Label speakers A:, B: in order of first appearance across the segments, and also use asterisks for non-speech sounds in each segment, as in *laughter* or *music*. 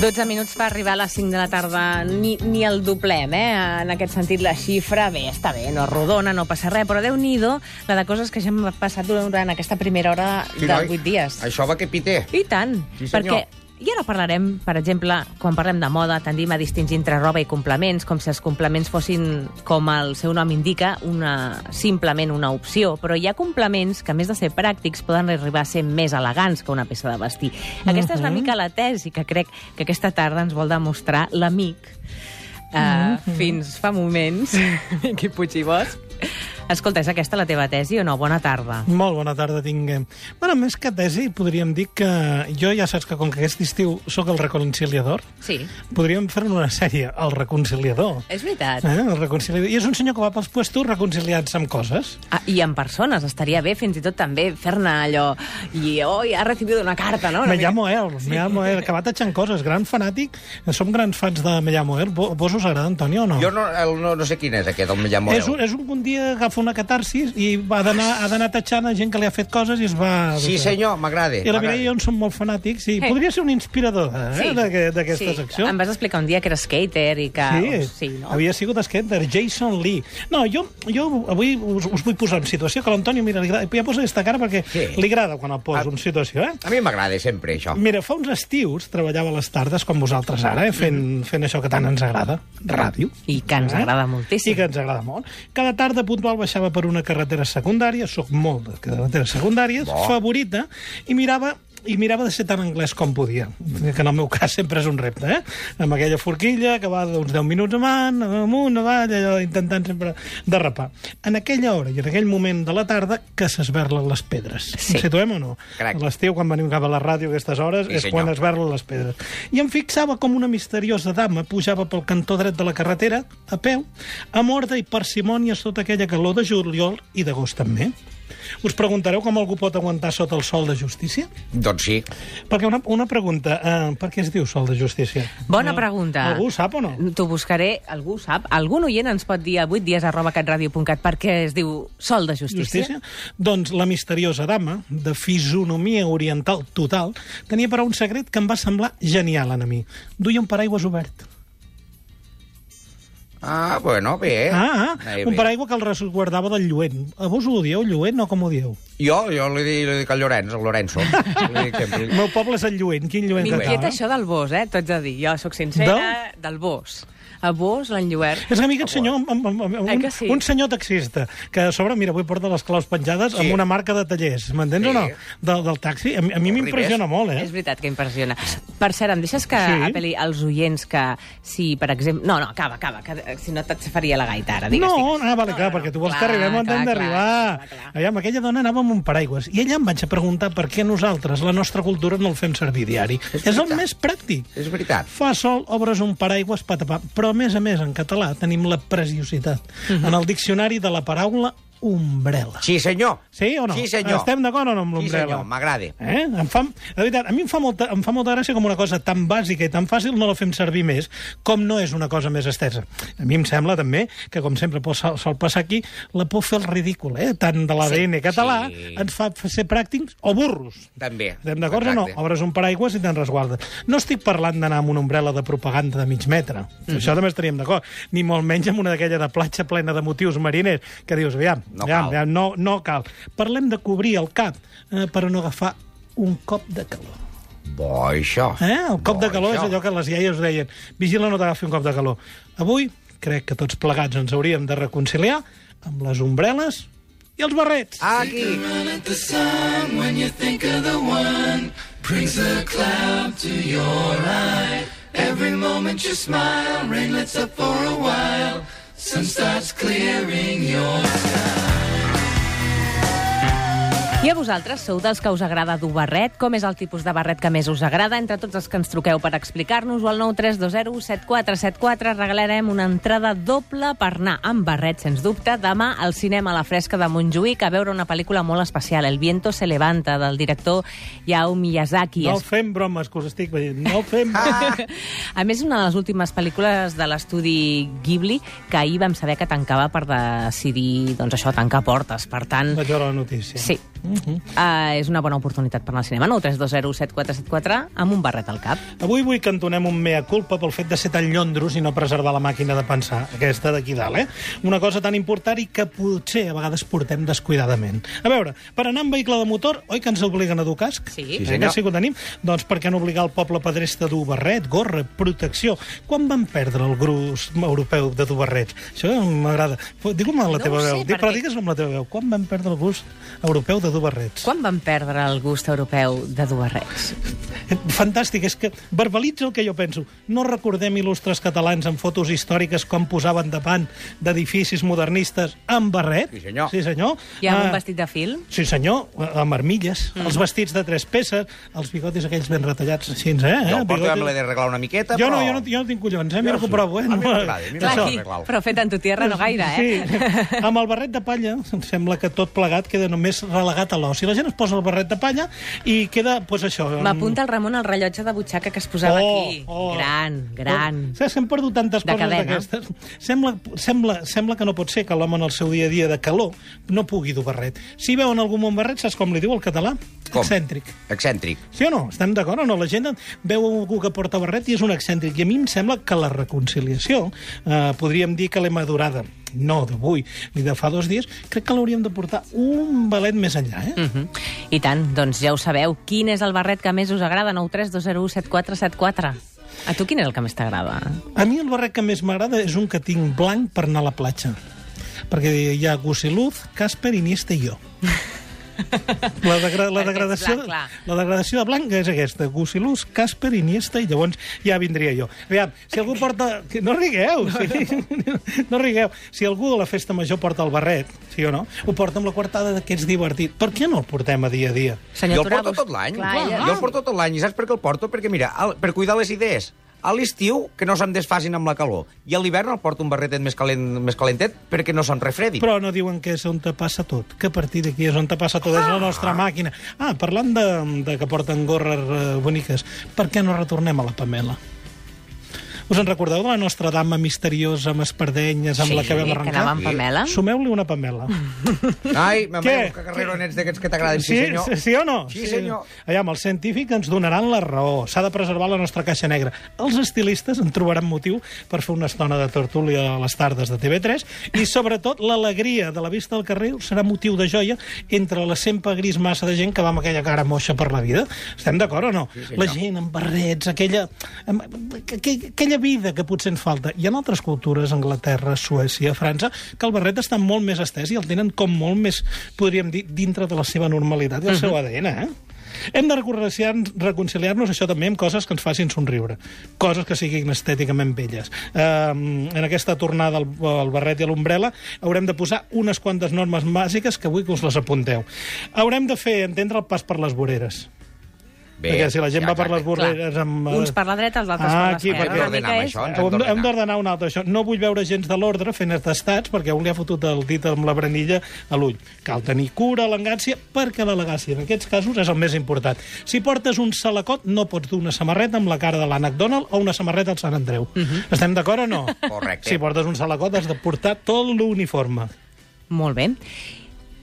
A: 12 minuts per arribar a les 5 de la tarda. Ni, ni el doblem, eh? En aquest sentit, la xifra, bé, està bé, no és rodona, no passa res, però déu nhi la de coses que ja hem passat durant aquesta primera hora
B: Sí,
A: de
B: noi,
A: 8 dies.
B: Això va que pité.
A: I tant,
B: Sí, senyor.
A: perquè i ara parlarem, per exemple, quan parlem de moda, tendim a distingir entre roba i complements, com si els complements fossin, com el seu nom indica, una, simplement una opció. Però hi ha complements que, a més de ser pràctics, poden arribar a ser més elegants que una peça de vestir. Aquesta és una mica la tesi que crec que aquesta tarda ens vol demostrar l'amic uh, fins fa *laughs* moments, Miqui Puig i Bosch. Escolta, és aquesta la teva tesi o no? Bona tarda.
C: Molt bona tarda tinguem. Bueno, més que tesi, podríem dir que jo ja saps que com que aquest estiu sóc el reconciliador,
A: Sí,
C: podríem fer-ne una sèrie, El reconciliador.
A: és veritat.
C: Eh? El reconciliador. I és un senyor que va pels puestos reconciliant-se amb coses.
A: Ah, I en persones, estaria bé fins i tot també fer-ne allò... I oi, ha recibit una carta, no? Una
C: Me
A: mica.
C: llamo El, me llamo El, que va tatxant coses. Gran fanàtic, som grans fans de Me llamo El. Vo- Vos us agrada, Antonio, o no?
B: Jo no, el, no, no sé quin és aquest, el Millán Morel.
C: És un, és un que un dia agafa una catarsis i va d'anar- ha d'anar tatxant a gent que li ha fet coses i es va...
B: Sí, senyor, m'agrada.
C: I la
B: m'agrada.
C: Mireia i jo en som molt fanàtics i
A: Eh.
C: podria ser un inspirador eh,
A: Sí.
C: d'aquest- d'aquesta secció.
A: Em vas explicar un dia que era skater i que... oh,
C: Sí,
A: sí no?
C: havia sigut skater, Jason Lee. No, jo, jo avui us, us vull posar en situació, que l'Antonio, mira, li agrada, ja posa aquesta cara perquè
B: Sí.
C: sí. li agrada quan el poso en situació, eh?
B: A mi m'agrada sempre, això.
C: Mira, fa uns estius treballava a les tardes, com vosaltres ara, eh? fent, fent això que tant ens agrada, ràdio.
A: I que ens agrada moltíssim.
C: Eh? I que ens agrada molt. Cada tarda puntual baixava per una carretera secundària, sóc molt de carreteres secundàries,
B: Bo.
C: favorita, i mirava i mirava de ser tan anglès com podia, que en el meu cas sempre és un repte, eh? Amb aquella forquilla que va d'uns 10 minuts avant, amunt, avall, allò, intentant sempre derrapar. En aquella hora i en aquell moment de la tarda que s'esberlen les pedres.
A: Sí.
C: Ens situem o no?
B: Crac.
C: A L'estiu, quan venim cap a la ràdio a aquestes hores,
B: Sí,
C: és
B: senyor.
C: quan es esberlen les pedres. I em fixava com una misteriosa dama pujava pel cantó dret de la carretera, a peu, amb orda i parsimònia sota aquella calor de juliol i d'agost també. Us preguntareu com algú pot aguantar sota el sol de justícia?
B: Doncs sí.
C: Perquè una, una pregunta, eh, per què es diu sol de justícia?
A: Bona
C: No,
A: pregunta. Mm,
C: Algú ho sap o no?
A: T'ho buscaré, algú ho sap. Algun oient ens pot dir a 8 dies arroba catradio.cat per què es diu sol de justícia?
C: justícia? Doncs la misteriosa dama, de fisonomia oriental total, tenia però un secret que em va semblar genial a mi. Duia un paraigües obert.
B: Ah, bueno, bé.
C: Ah, ah
B: Ai,
C: un
B: bé.
C: paraigua que el resguardava del lluent. A vos ho dieu, lluent, o com ho dieu?
B: Jo, jo li, dic- li dic al Llorenç, al
C: *laughs*
B: Lorenzo. Li dic sempre.
C: El meu poble és el lluent. Quin lluent que
A: M'inquieta
C: acaba?
A: això del bos, eh? T'ho haig de dir. Jo sóc sincera, del, bos. A bos, l'enlluert.
C: És una mica el senyor, amb- amb- amb-
A: Eh
C: un,
A: que sí?
C: un senyor taxista, que a sobre, mira, avui porta les claus penjades
B: Sí.
C: amb una marca de tallers, m'entens
B: Sí.
C: o no? Del, del taxi. A, mi- a mi
B: No
C: m'impressiona
B: arribes.
C: molt,
A: És
C: eh?
A: veritat que impressiona. Per cert, em deixes que sí.
C: Sí.
A: apel·li als oients que, si, per exemple... No, no, acaba, acaba, que eh, si no et faria la gaita ara, digues.
C: No,
A: digues.
C: ah, vale, clar, perquè tu vols que arribem on hem d'arribar. Aviam, aquella dona anava amb un paraigües i ella em vaig a preguntar per què nosaltres, la nostra cultura, no el fem servir diari. És, és el
B: veritat.
C: més pràctic.
B: És veritat.
C: Fa sol, obres un paraigües, patapà. Però, a més a més, en català tenim la preciositat.
B: Mhm.
C: En el diccionari de la paraula ombrela.
B: Sí, senyor.
C: Sí o no?
B: Sí, senyor.
C: Estem d'acord o no amb
B: Sí,
C: l'ombrela?
B: senyor, m'agrada.
C: Eh? Em fa, la veritat, a mi em fa, molta, em fa molta gràcia com una cosa tan bàsica i tan fàcil no la fem servir més, com no és una cosa més estesa. A mi em sembla també que, com sempre pot- sol, sol passar aquí, la por fer el ridícul, eh? tant de l'ADN sí, català,
B: sí.
C: sí. ens fa ser pràctics o burros.
B: També.
C: Estem d'acord o no?
B: Exacte.
C: Obres un paraigües i te'n resguardes. No estic parlant d'anar amb una ombrela de propaganda de mig metre.
B: Mhm.
C: Mm -hmm. Això també estaríem d'acord. Ni molt menys amb una d'aquella de platja plena de motius mariners, que dius, aviam,
B: No
C: aviam,
B: cal.
C: aviam no, no cal. Parlem de cobrir el cap eh, per no agafar un cop de calor.
B: Bo, això.
C: Eh? El cop
B: Bo,
C: de calor
B: això.
C: és allò que les iaies deien. Vigila no t'agafi un cop de calor. Avui crec que tots plegats ens hauríem de reconciliar amb les ombreles i els barrets.
B: Aquí.
C: Eh?
A: I a vosaltres, sou dels que us agrada dur barret? Com és el tipus de barret que més us agrada? Entre tots els que ens truqueu per explicar-nos-ho al 932017474 regalarem una entrada doble per anar amb barret, sens dubte, demà al cinema a la fresca de Montjuïc a veure una pel·lícula molt especial, El viento se levanta, del director Yao Miyazaki.
C: No
A: Es
C: fem bromes, que us estic veient. No
B: *laughs*
C: fem
B: Ah.
C: bromes.
A: *laughs* A més, una de les últimes pel·lícules de l'estudi Ghibli, que ahir vam saber que tancava per decidir, doncs això, tancar portes. Per tant,
C: Vaig veure la notícia.
A: sí,
C: Uh -huh.
A: Uh, és una bona oportunitat per anar al cinema. 9 3 2 0 7 4 7 4 amb un barret al cap.
C: Avui vull que entonem un mea culpa pel fet de ser tan llondros i no preservar la màquina de pensar, aquesta d'aquí dalt, eh? Una cosa tan important i que potser a vegades portem descuidadament. A veure, per anar amb vehicle de motor, oi que ens obliguen a dur casc?
A: Sí. Sí,
C: Eh,
B: senyor.
C: que sí que ho tenim. Doncs per què no obligar el poble pedresta a dur barret, gorra, protecció? Quan van perdre el grus europeu de dur barret? Això m'agrada. Digue-ho amb
A: No
C: la teva
A: ho sé,
C: veu. Dic,
A: perquè-
C: Però digues amb la teva veu. Quan van perdre el gust europeu de dur barrets?
A: Quan van perdre el gust europeu de dur barrets?
C: Fantàstic, és que verbalitza el que jo penso. No recordem il·lustres catalans en fotos històriques com posaven davant d'edificis modernistes amb barret.
B: Sí, senyor.
C: Sí, senyor.
A: Hi ha un
C: Ah,
A: vestit de fil?
C: Sí, senyor, amb armilles, mm. els vestits de tres peces, els bigotis aquells ben retallats, així, eh?
B: Jo
C: eh?
B: el porto,
C: Bigotis-
B: ja me l'he d'arreglar una miqueta,
C: jo
B: però...
C: no, jo no, jo no tinc collons, eh? Mira
B: Jo
C: que ho
B: sí.
C: provo, eh?
B: A mi
C: No,
B: m'agrada, a mi
A: Clar,
B: m'agrada.
A: aquí,
B: arreglau.
A: però fet en tu tierra no gaire, eh?
C: Sí. Amb el barret de palla, em sembla que tot plegat queda només relegat a l'oci. La gent es posa el barret de palla i queda, doncs pues, això...
A: *laughs* M'apunta el Ramon al rellotge de butxaca que es posava
C: Oh,
A: aquí.
C: oh.
A: Gran, gran.
C: Saps que hem perdut tantes
A: De
C: coses
A: cadena.
C: d'aquestes? Sembla, sembla, sembla que no pot ser que l'home en el seu dia a dia de calor no pugui dur barret. Si veu en algú amb un barret, saps com li diu el català?
B: Com?
C: Excèntric.
B: Excèntric.
C: Sí o no? Estan d'acord o no? La gent veu algú que porta barret i és un excèntric. I a mi em sembla que la reconciliació, eh, podríem dir que l'hem madurada, no d'avui ni de fa dos dies, crec que l'hauríem de portar un valet més enllà, eh?
A: Mhm. I tant, doncs ja ho sabeu. Quin és el barret que més us agrada? 9 3 2 0 7 4 7 4. A tu quin és el que més t'agrada?
C: A mi el barret que més m'agrada és un que tinc blanc per anar a la platja. Perquè hi ha Gusiluz, Casper,
A: *laughs*
C: Iniesta i jo. La, degra la,
A: Perquè és
C: degradació,
A: blanc, clar.
C: la degradació de blanc és aquesta. Gusiluz, Casper, Iniesta i llavors ja vindria jo. Aviam, si algú porta... que No rigueu! No, sí. no. rigueu. Si algú a la festa major porta el barret, sí o no, ho porta amb la quartada de que ets divertit. Per què no el portem a dia a dia?
B: jo
A: Senyor
B: el
A: Turà,
B: porto
A: vos-
B: tot l'any.
A: Clar, ella-
B: Jo el porto tot l'any. I saps per què el porto? Perquè, mira, al, per cuidar les idees. A l'estiu, que no se'm desfasin amb la calor. I a l'hivern el porto un barretet més, calent, més calentet perquè no se'm refredi.
C: Però no diuen que és on te passa tot, que a partir d'aquí és on te passa tot, és la nostra màquina. Ah, parlant de, de que porten gorres eh, boniques, per què no retornem a la Pamela? Us en recordeu de la nostra dama misteriosa amb espardenyes, amb
A: Sí,
C: la que vam
A: que
C: arrencar?
A: anava amb Pamela.
C: Sumeu-li una Pamela.
B: Ai, mamà,
C: Què?
B: que carreronets d'aquests que t'agraden, sí,
C: sí,
B: senyor.
C: sí, sí o no?
B: Sí, senyor.
C: Allà, els científics ens donaran la raó. S'ha de preservar la nostra caixa negra. Els estilistes en trobaran motiu per fer una estona de tertúlia a les tardes de TV3 i, sobretot, l'alegria de la vista del carrer serà motiu de joia entre la sempre gris massa de gent que va amb aquella cara moixa per la vida. Estem d'acord o no? Sí, la gent amb barrets, aquella, amb, aquella, aquella vida que potser ens falta. Hi ha altres cultures, Anglaterra, Suècia, França, que el barret està molt més estès i el tenen com molt més, podríem dir, dintre de la seva normalitat i el seu ADN, eh? Hem de reconciliar- reconciliar-nos, això també, amb coses que ens facin somriure, coses que siguin estèticament belles. Um, en aquesta tornada al, al barret i a l'ombrella haurem de posar unes quantes normes bàsiques que vull que us les apunteu. Haurem de fer entendre el pas per les voreres. Bé, perquè si la gent
B: ja,
C: va per
B: exacte.
C: les borreres amb... eh,
A: Uns per la dreta, els altres
C: Ah,
A: per
C: aquí,
A: l'esquerra. Una
B: Hem
C: perquè-
B: d'ordenar
A: mica
B: amb
A: és-
B: això, eh?
C: Ho hem de-
B: tornar.
C: hem d'ordenar un altre, això. No vull veure gens de l'ordre fent atestats perquè un li ha fotut el dit amb la branilla a l'ull. Cal tenir cura, elegància, perquè l'elegància en aquests casos és el més important. Si portes un salacot, no pots dur una samarreta amb la cara de l'Ànec Donald o una samarreta al Sant Andreu.
A: Mhm.
C: Estem d'acord o
A: *laughs*
C: no?
B: Correcte.
C: Si portes un salacot, has de portar tot l'uniforme.
A: Molt bé.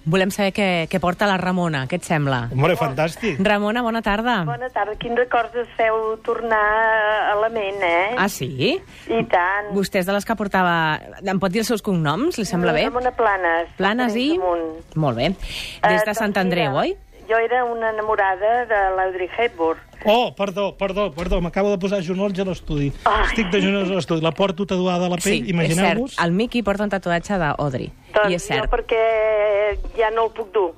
A: Volem saber què, què porta la Ramona, què et sembla?
C: Hombre, fantàstic.
A: Ramona, bona tarda.
D: Bona tarda. Quins records es feu tornar a la ment, eh?
A: Ah, sí?
D: I tant.
A: Vostè és de les que portava... Em pot dir els seus cognoms? Li sembla bé?
D: Ramona Planes.
A: Planes i...
D: Amunt.
A: Molt bé.
D: Eh,
A: Des de
D: doncs
A: Sant Andreu,
D: mira,
A: oi?
D: Jo era una enamorada de l'Audrey Hepburn.
C: Oh, perdó, perdó, perdó, m'acabo de posar junolls a l'estudi.
D: Ai.
C: Estic de junolls a l'estudi. La porto tatuada a la pell,
A: és cert.
C: imagineu-vos.
A: El Miqui porta un tatuatge d'Odri.
D: Doncs
A: I és cert.
D: Jo perquè ja no el puc dur.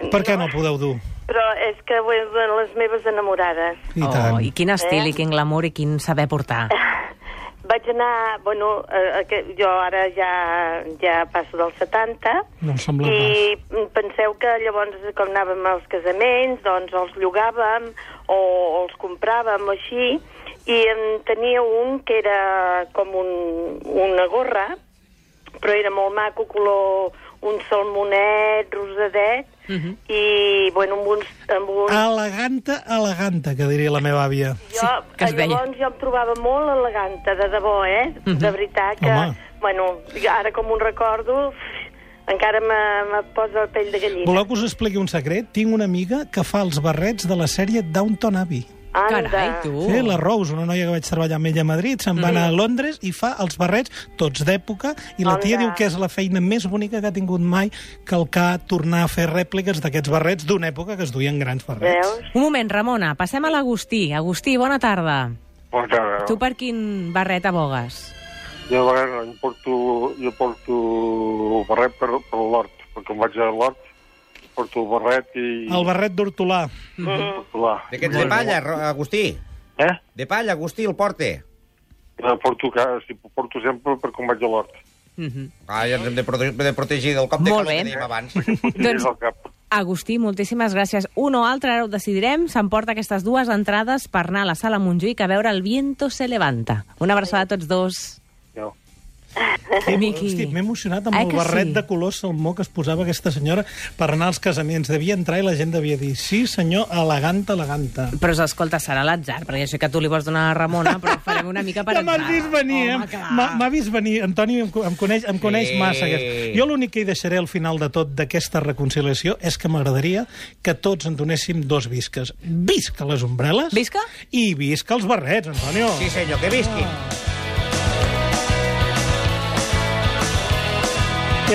C: Per què no el podeu dur?
D: Però és que ho és de les meves enamorades.
C: I tant.
A: Oh, I quin estil, i quin glamour, i quin saber portar.
D: *laughs* Vaig anar, bueno, eh, que- jo ara ja, ja passo dels 70,
C: No em sembla
D: i penseu que llavors quan anàvem als casaments, doncs els llogàvem o, o els compràvem o així, i en tenia un que era com un, una gorra, però era molt maco, color un salmonet, rosadet,
C: Mhm.
D: i, bueno, amb uns... Amb
C: Ah,
D: uns
C: Eleganta, eleganta, que diria la meva àvia.
D: jo, eh,
A: Sí, que es deia. Mhm.
D: llavors jo em trobava molt eleganta, de debò, eh? De veritat que,
C: Home.
D: bueno, ara com un recordo, Encara me, me posa el pell de gallina.
C: Voleu que us expliqui un secret? Tinc una amiga que fa els barrets de la sèrie Downton Abbey.
D: Anda.
A: Carai, tu.
C: Uh. Sí, la Rose, una noia que vaig treballar amb ella a Madrid, se'n va anar
A: Mm.
C: a Londres i fa els barrets, tots d'època, i la tia
D: Hola.
C: diu que és la feina més bonica que ha tingut mai calcar, tornar a fer rèpliques d'aquests barrets d'una època que es duien grans barrets.
D: Veus?
A: Un moment, Ramona, passem a l'Agustí. Agustí, bona tarda.
E: Bona tarda.
A: Tu per quin barret abogues?
E: Jo, a vegades, jo porto, jo porto el barret per, per l'hort, perquè em vaig a l'hort, porto el barret i... Ah.
C: El barret d'Hortolà.
E: Portolà.
B: D'aquests de palla, Ro- Agustí.
E: Eh?
B: De palla, Agustí, el porte.
E: Jo porto, ca- sí, porto sempre perquè em vaig a l'hort.
A: Mm -hmm.
B: Ah, ja ens hem de, prote de protegir del cop de
A: Molt
B: calor que
A: bé.
B: dèiem abans.
A: Doncs-
E: Doncs... Al cap.
A: Agustí, moltíssimes gràcies. Un o altre, ara ho decidirem, s'emporta aquestes dues entrades per anar a la sala Montjuïc a veure el viento se levanta. Una abraçada a tots dos.
E: Jo.
A: Miqui.
C: Hosti, m'he emocionat amb
A: Eh
C: el
A: que
C: barret
A: sí?
C: de color salmó que es posava aquesta senyora per anar als casaments. Devia entrar i la gent devia dir, sí senyor, eleganta, eleganta.
A: Però escolta, serà l'atzar, perquè jo sé que tu li vols donar a la Ramona, però farem una mica
C: *laughs*
A: per
C: Ja m'has
A: atzar.
C: vist venir,
A: Home,
C: eh?
A: clar.
C: M'ha- M'ha vist venir. Antoni em, co- em coneix, em coneix
B: Sí.
C: massa. Aquest. Jo l'únic que hi deixaré al final de tot d'aquesta reconciliació és que m'agradaria que tots en donéssim dos visques. Visca les ombrel·les
A: Visca?
C: i visca els barrets, Antonio.
B: Sí, senyor, que visquin.
A: Ah.
C: I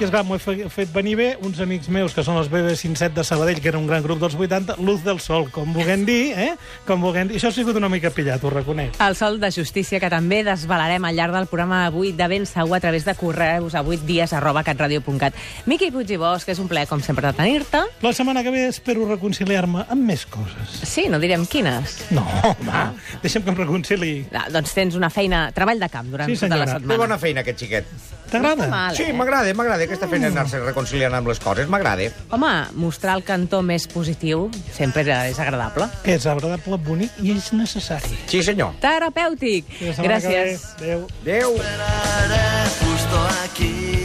C: i és clar, m'ho he fe- fet venir bé uns amics meus, que són els BB57 de Sabadell, que era un gran grup dels 80, Luz del Sol, com vulguem dir, eh? Com vulguem dir. Això ha sigut una mica pillat, ho reconec.
A: El sol de justícia, que també desvelarem al llarg del programa d'avui de ben segur a través de correus a 8 dies arroba catradio.cat. Miqui Puig i Bosch, és un plaer com sempre de tenir-te.
C: La setmana que ve espero reconciliar-me amb més coses.
A: Sí, no direm quines.
C: No, home, deixa'm que em reconciliï.
A: Ah, doncs tens una feina, treball de camp durant
C: Sí,
A: tota la
C: senyora.
A: setmana.
B: Té bona feina, aquest xiquet.
C: T'agrada?
A: Mal,
B: Sí,
A: eh?
B: m'agrada, m'agrada aquesta feina d'anar-se reconciliant amb les coses, m'agrada.
A: Home, mostrar el cantó més positiu sempre és agradable.
C: És agradable, bonic i és necessari.
B: Sí, senyor.
A: Terapèutic.
C: Fins la setmana que
A: Gràcies.
C: ve. Adéu.
B: Adéu.
F: esperaré justo aquí.